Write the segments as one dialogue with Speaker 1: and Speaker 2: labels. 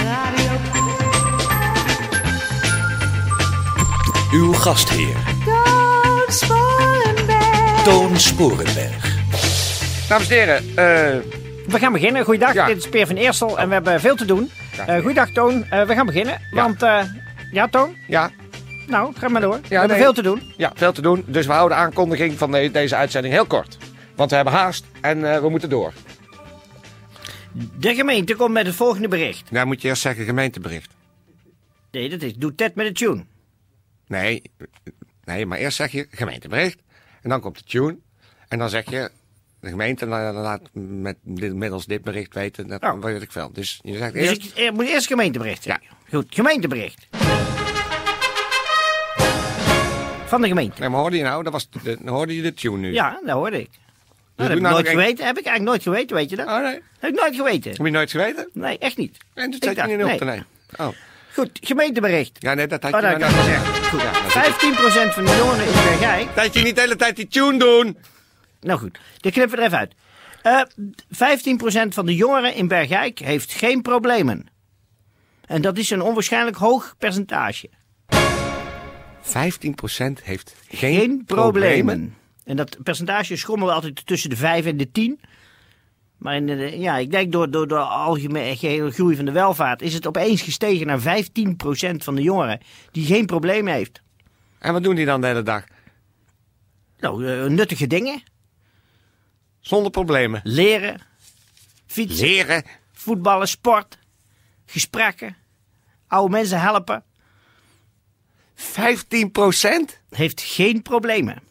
Speaker 1: Radio
Speaker 2: Uw gastheer,
Speaker 1: Toon Sporenberg.
Speaker 2: Toon Sporenberg.
Speaker 3: Dames en heren, eh,
Speaker 4: We gaan beginnen. Goeiedag,
Speaker 3: Ja.
Speaker 4: dit is Peer van Eersel en we hebben veel te doen. Eh goeiedag Toon, Eh, we gaan beginnen. Want, eh, ja Toon,
Speaker 3: ja,
Speaker 4: nou, ga maar door. we
Speaker 3: nee.
Speaker 4: hebben veel te doen.
Speaker 3: ja, veel te doen. Dus we houden de aankondiging van de- deze uitzending heel kort. Want we hebben haast en eh, we moeten door.
Speaker 4: De gemeente komt met het volgende bericht.
Speaker 3: Nou moet je eerst zeggen gemeentebericht.
Speaker 4: Nee, dat is Doet Ted met de tune.
Speaker 3: Nee, nee, maar eerst zeg je gemeentebericht. En dan komt de tune. En dan zeg je, de gemeente la- laat met, dit- middels dit bericht weten, dat
Speaker 4: Oh.
Speaker 3: weet ik veel. Dus je zegt
Speaker 4: Dus
Speaker 3: eerst...
Speaker 4: ik eh, moet eerst gemeentebericht zeggen. Goed, gemeentebericht. Van de gemeente.
Speaker 3: Nee, maar hoorde je nou, dat was de, hoorde je de tune nu?
Speaker 4: Ja, dat hoorde ik. Nou, dat heb
Speaker 3: doet
Speaker 4: ik
Speaker 3: nou
Speaker 4: nooit
Speaker 3: ook een-
Speaker 4: geweten. Heb ik eigenlijk nooit geweten, weet je dat?
Speaker 3: Oh nee,
Speaker 4: Heb ik nooit geweten.
Speaker 3: heb je nooit geweten?
Speaker 4: Nee, echt niet.
Speaker 3: En dat
Speaker 4: Ik
Speaker 3: zet je
Speaker 4: dacht,
Speaker 3: niet op
Speaker 4: nee.
Speaker 3: te nemen. Oh,
Speaker 4: Goed, gemeentebericht.
Speaker 3: ja, nee, dat had je
Speaker 4: Oh, dat
Speaker 3: maar
Speaker 4: heb ik al
Speaker 3: net
Speaker 4: gezegd. Goed.
Speaker 3: Ja, dat is-
Speaker 4: 15% van de jongeren in Bergijk.
Speaker 3: Dat je niet de hele tijd die tune doen.
Speaker 4: Nou goed, dit knippen we er even uit. Eh 15% van de jongeren in Bergijk heeft geen problemen. En dat is een onwaarschijnlijk hoog percentage.
Speaker 3: 15% heeft geen,
Speaker 4: Geen, problemen.
Speaker 3: problemen.
Speaker 4: En dat percentage schommelt altijd tussen de 5 en de 10. Maar in de- ja, ik denk door, door, door algemene groei van de welvaart is het opeens gestegen naar 15% van de jongeren die geen problemen heeft.
Speaker 3: En wat doen die dan de hele dag?
Speaker 4: Nou, eh, nuttige dingen.
Speaker 3: Zonder problemen.
Speaker 4: Leren. Fietsen.
Speaker 3: Leren.
Speaker 4: voetballen, sport, gesprekken, oude mensen helpen,
Speaker 3: 15%?
Speaker 4: heeft geen problemen.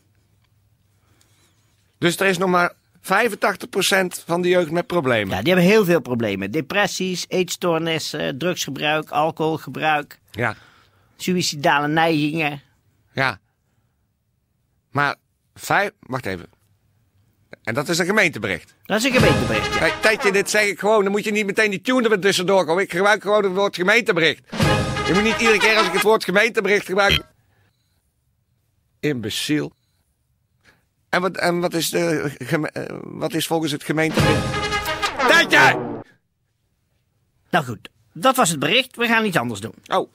Speaker 3: Dus er is nog maar 85% van de jeugd met problemen.
Speaker 4: Ja, die hebben heel veel problemen. Depressies, eetstoornissen, drugsgebruik, alcoholgebruik,
Speaker 3: Ja.
Speaker 4: suïcidale neigingen.
Speaker 3: Ja. Maar vijf... Wacht even. En dat is een gemeentebericht.
Speaker 4: Dat is een gemeentebericht. ja.
Speaker 3: Kijk, tijdje, dit zeg ik gewoon. Dan moet je niet meteen die tune er tussendoor komen. Ik gebruik gewoon het woord gemeentebericht. Je moet niet iedere keer als ik het woord gemeentebericht gebruik... Imbeciel. En wat, en wat, is, de, geme- eh, wat is volgens het gemeentebericht? Tijdje!
Speaker 4: Nou goed, dat was het bericht. We gaan iets anders doen.
Speaker 3: Oh.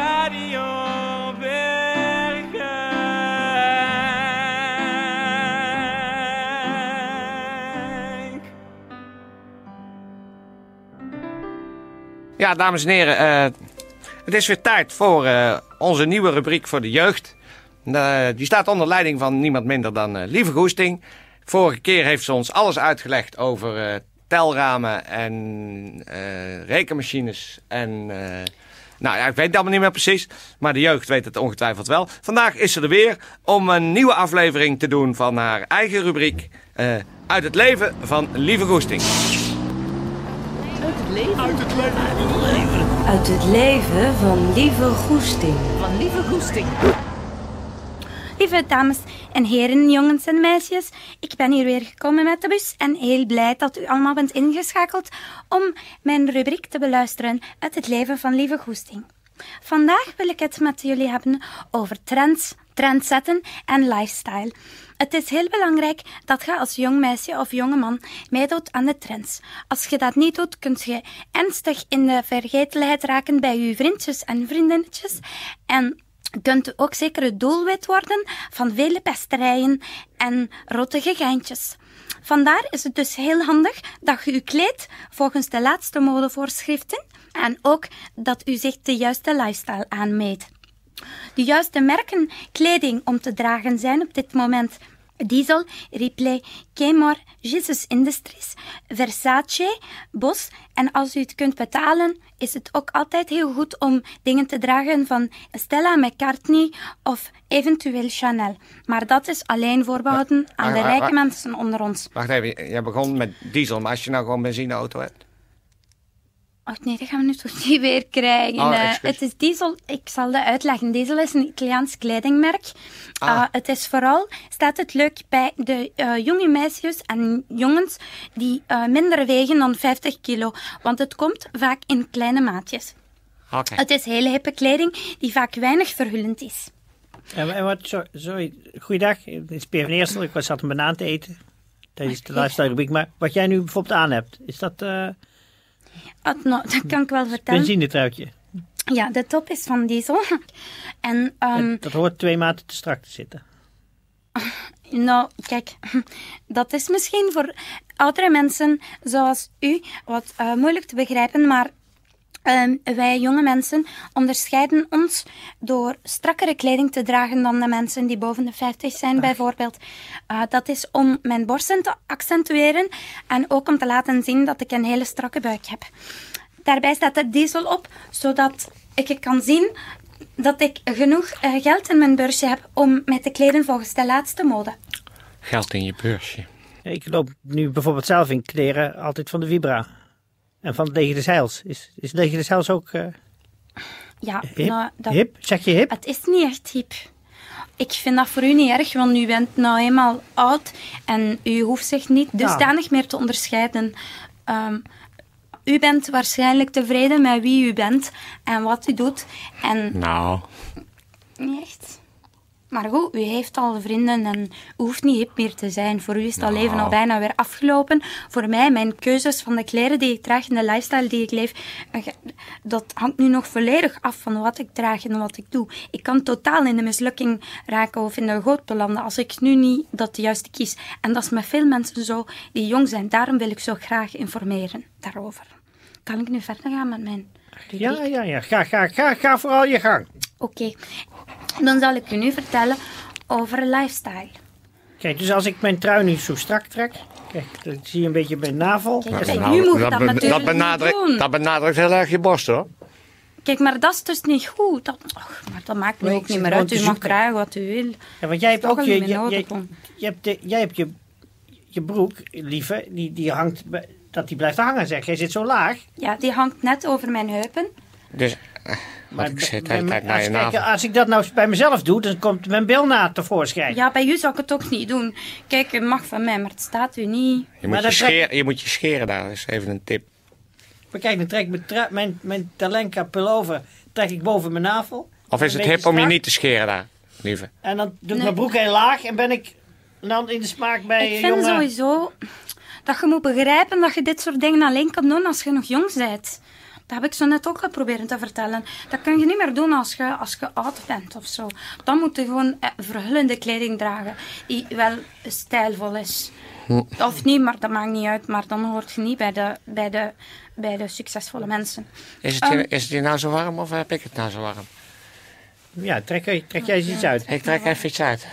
Speaker 5: Radio Bergijk.
Speaker 3: Ja, dames en heren, eh, het is weer tijd voor eh, onze nieuwe rubriek voor de jeugd. Eh, die staat onder leiding van niemand minder dan eh, Lieve Goesting. Vorige keer heeft ze ons alles uitgelegd over eh, telramen en eh, rekenmachines en... eh, nou ja, ik weet het allemaal niet meer precies, maar de jeugd weet het ongetwijfeld wel. Vandaag is ze er weer om een nieuwe aflevering te doen van haar eigen rubriek... eh, uit het leven van Lieve Goesting.
Speaker 6: Uit het leven van Lieve Goesting.
Speaker 7: Van lieve goesting.
Speaker 8: Lieve dames en heren, jongens en meisjes, ik ben hier weer gekomen met de bus en heel blij dat u allemaal bent ingeschakeld om mijn rubriek te beluisteren uit het leven van Lieve Goesting. Vandaag wil ik het met jullie hebben over trends, trendsetten en lifestyle. Het is heel belangrijk dat je als jong meisje of jonge man meedoet aan de trends. Als je dat niet doet, kun je ernstig in de vergetelheid raken bij je vriendjes en vriendinnetjes en kunt u ook zeker het doelwit worden van vele pesterijen en rottige geintjes. Vandaar is het dus heel handig dat je u kleedt volgens de laatste modevoorschriften en ook dat u zich de juiste lifestyle aanmeet. De juiste merken kleding om te dragen zijn op dit moment Diesel, Ripley, Kmart, Jesus Industries, Versace, Bos. En als u het kunt betalen, is het ook altijd heel goed om dingen te dragen van Stella McCartney of eventueel Chanel. Maar dat is alleen voorbehouden aan de
Speaker 3: maar-
Speaker 8: rijke
Speaker 3: maar-
Speaker 8: mensen onder ons.
Speaker 3: Wacht even, jij begon met diesel, maar als je nou gewoon benzineauto hebt...
Speaker 8: Oh nee, dat gaan we nu toch niet weer krijgen.
Speaker 3: Oh,
Speaker 8: Eh,
Speaker 3: excuus.
Speaker 8: het is diesel, ik zal dat uitleggen. Diesel is een Italiaans kledingmerk. Eh, het is vooral, staat het leuk bij de eh, jonge meisjes en jongens die eh, minder wegen dan 50 kilo. Want het komt vaak in kleine maatjes.
Speaker 3: Oké.
Speaker 8: Het is hele hippe kleding die vaak weinig verhullend is.
Speaker 4: En, en wat, sorry, sorry, goeiedag, het is Peer van Eersel. Ik was zat een banaan te eten tijdens de laatste rubriek. Maar wat jij nu bijvoorbeeld aan hebt, is dat eh
Speaker 8: Oh, nou, dat kan ik wel vertellen.
Speaker 4: benzinetruitje?
Speaker 8: Ja, de top is van diesel. En ehm,
Speaker 4: Dat hoort twee maten te strak te zitten.
Speaker 8: Nou, kijk, dat is misschien voor oudere mensen zoals u wat eh, moeilijk te begrijpen, maar ehm, wij jonge mensen onderscheiden ons door strakkere kleding te dragen dan de mensen die boven de 50 zijn, bijvoorbeeld. Eh, dat is om mijn borsten te accentueren en ook om te laten zien dat ik een hele strakke buik heb. Daarbij staat de diesel op, zodat ik kan zien dat ik genoeg eh, geld in mijn beursje heb om mij te kleden volgens de laatste mode.
Speaker 3: Geld in je beursje.
Speaker 4: Ik loop nu bijvoorbeeld zelf in kleren altijd van de Vibra. En van Lege de Zeils. Is, is Lege de Zeils ook eh,
Speaker 8: Ja,
Speaker 4: hip?
Speaker 8: nou, dat,
Speaker 4: hip? Zeg je hip?
Speaker 8: het is niet echt hip. Ik vind dat voor u niet erg, want u bent nou eenmaal oud en u hoeft zich niet dusdanig meer te onderscheiden. Ehm, u bent waarschijnlijk tevreden met wie u bent en wat u doet. En
Speaker 3: Nou,
Speaker 8: niet echt. Maar goed, u heeft al vrienden en u hoeft niet hip meer te zijn. Voor u is dat leven al bijna weer afgelopen. Voor mij, mijn keuzes van de kleren die ik draag en de lifestyle die ik leef, eh, ge- dat hangt nu nog volledig af van wat ik draag en wat ik doe. Ik kan totaal in de mislukking raken of in de goot belanden als ik nu niet dat de juiste kies. En dat is met veel mensen zo die jong zijn. Daarom wil ik zo graag informeren daarover. Kan ik nu verder gaan met mijn rubriek?
Speaker 4: Ja, ja, ja. Ga, ga, ga, ga vooral je gang.
Speaker 8: Oké, dan zal ik u nu vertellen over lifestyle.
Speaker 4: Kijk, dus als ik mijn trui nu zo strak trek. Kijk, dan zie je een beetje mijn navel. Ja,
Speaker 8: Kijk, kijk, nu moet je dat,
Speaker 3: be-
Speaker 8: natuurlijk
Speaker 3: Nou, dat, benadrukt,
Speaker 8: niet doen.
Speaker 3: dat benadrukt heel erg je borst hoor.
Speaker 8: Kijk, maar dat is dus niet goed. Dat, och, maar dat maakt me
Speaker 4: Nee,
Speaker 8: ook
Speaker 4: ik
Speaker 8: niet
Speaker 4: zit
Speaker 8: meer
Speaker 4: gewoon
Speaker 8: uit.
Speaker 4: te
Speaker 8: U mag
Speaker 4: zoeken.
Speaker 8: krijgen wat u wil.
Speaker 4: Ja, want jij hebt
Speaker 8: Toch
Speaker 4: ook
Speaker 8: wel
Speaker 4: je, je,
Speaker 8: niet meer
Speaker 4: je,
Speaker 8: nodig, hoor.
Speaker 4: je hebt de- jij hebt je, je broek, lieve, die, die hangt, bij- dat die blijft hangen zeg. Jij zit zo laag.
Speaker 8: Ja, die hangt net over mijn heupen.
Speaker 3: Dus, eh, want ik zit de hele
Speaker 4: bij-
Speaker 3: tijd naar
Speaker 4: als,
Speaker 3: je
Speaker 4: kijk,
Speaker 3: navel.
Speaker 4: als ik dat nou bij mezelf doe, dan komt mijn bilnaad tevoorschijn.
Speaker 8: Ja, bij u zou ik het ook niet doen. Kijk, u mag van mij, maar het staat u niet.
Speaker 3: Je
Speaker 4: maar
Speaker 3: moet je,
Speaker 4: dat trek-
Speaker 3: scheren, je moet je scheren daar, dat is even een tip.
Speaker 4: Maar kijk, dan trek ik mijn, tra- mijn, mijn Talenka pullover trek ik boven mijn navel.
Speaker 3: Of is
Speaker 4: Een
Speaker 3: het
Speaker 4: beetje
Speaker 3: hip om je
Speaker 4: strak.
Speaker 3: niet te scheren daar, lieve?
Speaker 4: En dan doe ik
Speaker 8: Nee.
Speaker 4: mijn broek heel laag en ben ik dan in de smaak bij
Speaker 8: ik
Speaker 4: een
Speaker 8: vind
Speaker 4: jongen.
Speaker 8: sowieso dat je moet begrijpen dat je dit soort dingen alleen kan doen als je nog jong bent. Dat heb ik zo net ook geprobeerd te vertellen. Dat kun je niet meer doen als je, als je oud bent of zo. Dan moet je gewoon eh, verhullende kleding dragen, die wel stijlvol is. Of niet, maar dat maakt niet uit. Maar dan hoort je niet bij de, bij de, bij de succesvolle mensen.
Speaker 3: Is het,
Speaker 4: Oh.
Speaker 3: hier, is het hier nou zo warm of heb ik het nou zo warm?
Speaker 4: Ja, trek, jij- trek jij eens iets uit.
Speaker 3: Ik trek even iets uit.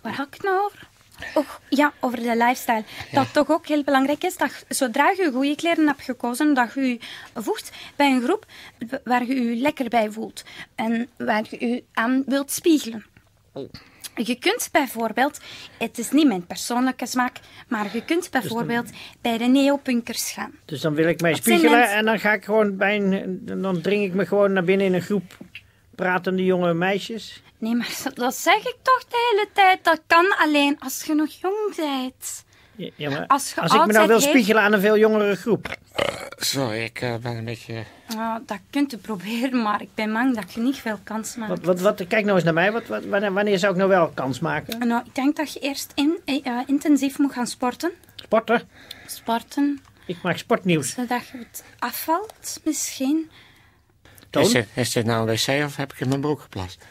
Speaker 8: Waar had ik het nou over? Och, ja, over de lifestyle. Dat toch ook heel belangrijk is dat je- zodra je goede kleren hebt gekozen, dat je je voegt bij een groep w- waar je je lekker bij voelt en waar je je aan wilt spiegelen. Oh. Je kunt bijvoorbeeld, het is niet mijn persoonlijke smaak, maar je kunt bijvoorbeeld bij de neopunkers gaan.
Speaker 4: Dus dan wil ik mij
Speaker 8: zijn
Speaker 4: spiegelen
Speaker 8: mensen-
Speaker 4: en dan ga ik gewoon bij een, dan dring ik me gewoon naar binnen in een groep pratende jonge meisjes.
Speaker 8: Nee, maar dat zeg ik toch de hele tijd. Dat kan alleen als je nog jong bent.
Speaker 4: Ja, ja, maar
Speaker 8: Als je
Speaker 4: als ik me
Speaker 8: oud
Speaker 4: nou
Speaker 8: bent,
Speaker 4: wil
Speaker 8: heeft-
Speaker 4: spiegelen aan een veel jongere groep.
Speaker 3: Sorry, ik eh, ben een beetje...
Speaker 8: Ja, Ah, dat kunt u proberen, maar ik ben bang dat je niet veel kans maakt.
Speaker 4: Wat, wat, wat, kijk nou eens naar mij, wat, wat, wanneer, wanneer zou ik nou wel kans maken?
Speaker 8: Nou, ik denk dat je eerst in, eh, eh, intensief moet gaan sporten.
Speaker 4: Sporter,
Speaker 8: Sporten,
Speaker 4: ik maak sportnieuws.
Speaker 8: zodat je het afvalt misschien.
Speaker 4: Toon,
Speaker 3: Is dit, is dit nou een wc of heb ik in mijn broek geplast?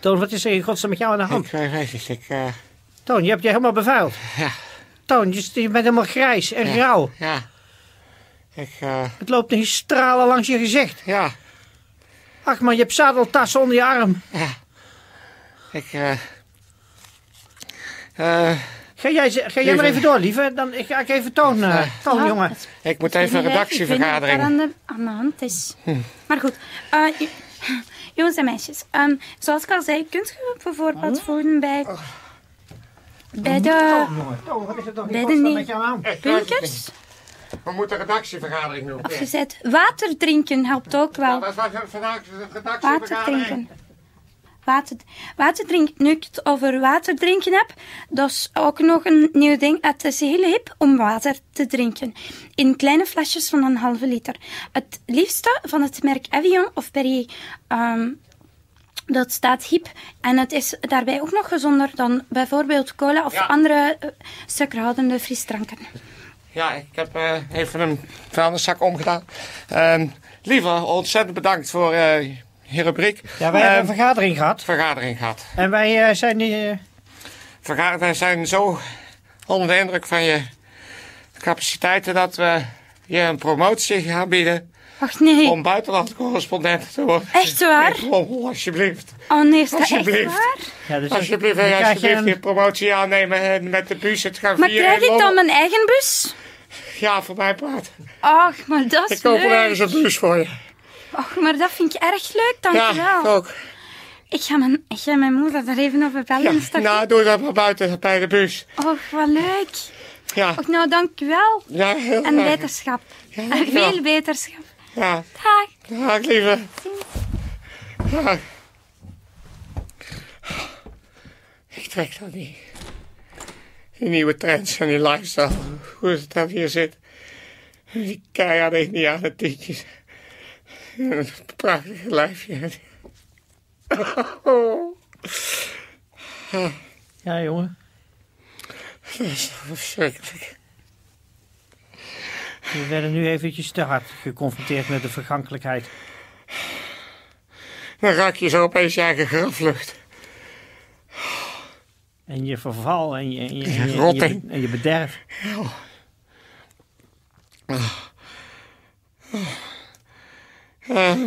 Speaker 4: Toon wat is er in godsnaam met jou aan de hand?
Speaker 3: Ik weet het niet, ik... eh,
Speaker 4: Toon, je hebt je helemaal bevuild.
Speaker 3: Ja.
Speaker 4: Toon, je, je bent helemaal grijs en grauw.
Speaker 3: ja. Ik, eh,
Speaker 4: Het loopt een stralen langs je gezicht.
Speaker 3: ja.
Speaker 4: Ach man, je hebt zadeltassen onder je arm.
Speaker 3: Ik, eh... eh,
Speaker 4: Ga jij, ze- ga jij maar even door, lieve. Dan ga ik even Toon, eh, Toon,
Speaker 8: Ja,
Speaker 4: jongen.
Speaker 8: het-
Speaker 3: ik Oh, moet even een
Speaker 8: Ik weet niet, ik weet niet wat daar
Speaker 3: redactievergadering. Hm.
Speaker 8: aan de- aan de hand is. Maar goed, eh, j- jongens en meisjes. ehm, zoals ik al zei, kunt je bijvoorbeeld voeden bij...
Speaker 3: Oh.
Speaker 8: Bij de
Speaker 4: Toon, Oh, wat is er toch
Speaker 8: Bij
Speaker 4: in
Speaker 8: de
Speaker 4: godsnaam
Speaker 8: nie-
Speaker 4: met jou aan?
Speaker 8: punkers.
Speaker 3: We moeten redactievergadering doen.
Speaker 8: Of je zet water drinken helpt ook wel.
Speaker 3: Dat was een- vandaag een
Speaker 8: Water
Speaker 3: redactievergadering.
Speaker 8: drinken. Water, water drinken. Nu ik het over water drinken heb, dat is ook nog een nieuw ding. Het is heel hip om water te drinken. In kleine flesjes van een halve liter. Het liefste van het merk Evian of Perrier. Ehm, dat staat hip. En het is daarbij ook nog gezonder dan bijvoorbeeld cola of
Speaker 3: Ja.
Speaker 8: andere eh, suikerhoudende frisdranken.
Speaker 3: Ja, ik heb eh, even een vuilniszak omgedaan. Ehm liever, ontzettend bedankt voor eh je rubriek.
Speaker 4: Ja, wij
Speaker 3: Ehm,
Speaker 4: hebben een vergadering gehad.
Speaker 3: vergadering gehad.
Speaker 4: Eh, En wij eh, zijn... eh,
Speaker 3: Verga- wij zijn zo onder de indruk van je capaciteiten dat we je een promotie gaan bieden
Speaker 8: Wacht, nee.
Speaker 3: om buitenlandcorrespondent te worden.
Speaker 8: Echt waar?
Speaker 3: Ik rommel, alsjeblieft.
Speaker 8: Oh nee, is dat echt
Speaker 3: Alsjeblieft.
Speaker 8: waar?
Speaker 4: ja, dus
Speaker 3: Alsjeblieft, wil
Speaker 4: dan
Speaker 3: jij
Speaker 4: krijg je
Speaker 3: alsjeblieft je
Speaker 4: een-
Speaker 3: promotie aannemen en met de bus het gaan
Speaker 8: Maar
Speaker 3: vieren.
Speaker 8: krijg
Speaker 3: in
Speaker 8: ik dan
Speaker 3: Londen?
Speaker 8: mijn eigen bus?
Speaker 3: Ja, voor mij praat.
Speaker 8: Ach, maar dat is
Speaker 3: Ik koop wel
Speaker 8: leuk.
Speaker 3: ergens een bus voor je.
Speaker 8: Ach, Oh, maar dat vind ik erg leuk,
Speaker 3: Ja,
Speaker 8: dankjewel.
Speaker 3: ik ook.
Speaker 8: ik, ga mijn, ik ga mijn moeder daar even over
Speaker 3: Ja,
Speaker 8: bellen. is dat
Speaker 3: nou, doe dat maar buiten bij de bus.
Speaker 8: goed? Och, wat leuk.
Speaker 3: Ja,
Speaker 8: Och, nou, dankjewel.
Speaker 3: ja Ah. heel
Speaker 8: En
Speaker 3: graag.
Speaker 8: wetenschap.
Speaker 3: Ja,
Speaker 8: En
Speaker 3: ja.
Speaker 8: veel wetenschap.
Speaker 3: Ja,
Speaker 8: Dag.
Speaker 3: dag lieve. Dag. Ik trek dat niet. Die nieuwe trends en die lifestyle. Hoe het dat hier zit. Die keiharde indianen tientjes. En het prachtige lijfje. Oh,
Speaker 4: Ja, jongen.
Speaker 3: dat is toch verschrikkelijk.
Speaker 4: We werden nu eventjes te hard geconfronteerd met de vergankelijkheid.
Speaker 3: Dan raak je zo opeens je eigen graflucht.
Speaker 4: En je verval en je, en je, en je, en je,
Speaker 3: Rotting.
Speaker 4: en je bederf.
Speaker 3: Ah. Ehm,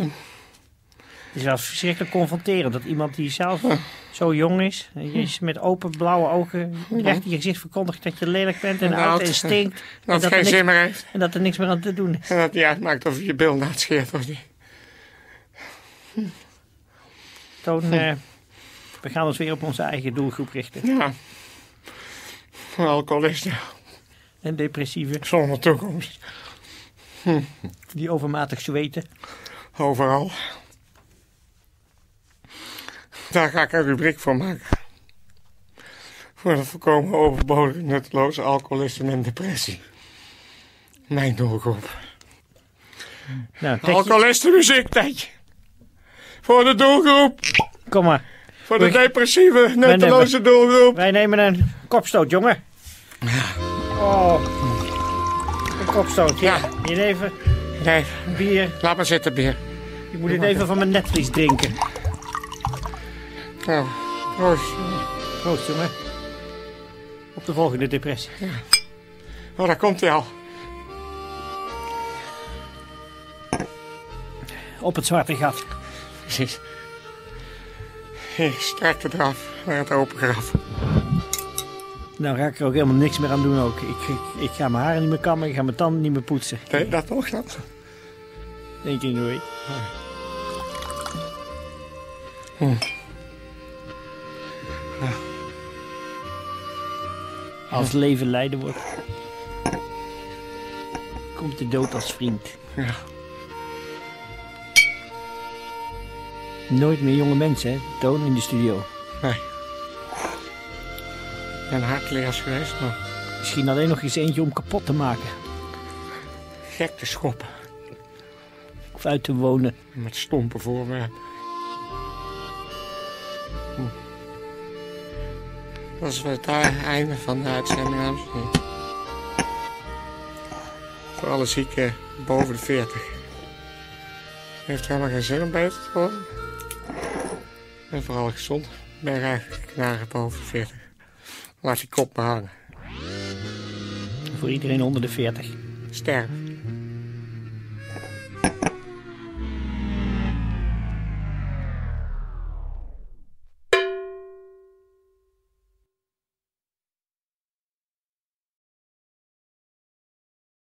Speaker 4: Het is wel verschrikkelijk confronterend dat iemand die zelf
Speaker 3: Ah.
Speaker 4: zo jong is, en je is met open blauwe ogen recht in je gezicht verkondigt dat je lelijk bent en
Speaker 3: En
Speaker 4: oud
Speaker 3: oud.
Speaker 4: en stinkt. En
Speaker 3: dat het
Speaker 4: dat,
Speaker 3: geen
Speaker 4: er niks,
Speaker 3: zin meer heeft.
Speaker 4: en dat er niks meer aan te doen is.
Speaker 3: En dat niet uitmaakt of je je bil naad scheert of niet.
Speaker 4: Toon,
Speaker 3: Hm.
Speaker 4: eh, we gaan ons weer op onze eigen doelgroep richten.
Speaker 3: Ja. Een alcoholist ja.
Speaker 4: En depressieve,
Speaker 3: zonder toekomst.
Speaker 4: die overmatig zweten.
Speaker 3: Overal. Daar ga ik een rubriek voor maken. Voor het voorkomen overbodige nutteloze alcoholisme en depressie. Mijn doelgroep.
Speaker 4: Nou, tekstje,
Speaker 3: Alcoholisten muziek, tijdje. Voor de doelgroep.
Speaker 4: kom maar.
Speaker 3: Voor de
Speaker 4: Oei.
Speaker 3: depressieve, nutteloze doelgroep.
Speaker 4: Wij nemen een kopstoot, jongen. Oh, een kopstoot. Ja.
Speaker 3: Ja.
Speaker 4: Hier even
Speaker 3: Nee,
Speaker 4: een bier.
Speaker 3: laat maar zitten, bier.
Speaker 4: Ik moet dit even van mijn netvlies drinken.
Speaker 3: Nou, proost.
Speaker 4: Proost, jongen. Op de volgende depressie.
Speaker 3: Oh, daar komt hij al.
Speaker 4: Op het zwarte gat.
Speaker 3: Precies. Ik strek het eraf naar het open graf.
Speaker 4: Nou ga ik er ook helemaal niks meer aan doen ook. Ik, ik, ik ga mijn haren niet meer kammen, ik ga mijn tanden niet meer poetsen.
Speaker 3: Nee, dat nog dat.
Speaker 4: Eén keer in de week. Hm. Als leven lijden wordt, komt de dood als vriend.
Speaker 3: Ja.
Speaker 4: Nooit meer jonge mensen, hè? Toon in de studio.
Speaker 3: Nee. Ik ben hardleers geweest, maar
Speaker 4: Misschien alleen nog eens eentje om kapot te maken.
Speaker 3: gek te schoppen.
Speaker 4: Of uit te wonen.
Speaker 3: Met stompen voor me. Hm. Dat is het ei- einde van de uitzending, dames en heren. Voor alle zieken boven de 40. Heeft helemaal geen zin om beter te worden. En vooral gezond. Ben eigenlijk knagen boven de 40. Laat die kop maar hangen.
Speaker 4: Voor iedereen onder de 40.
Speaker 3: Sterk.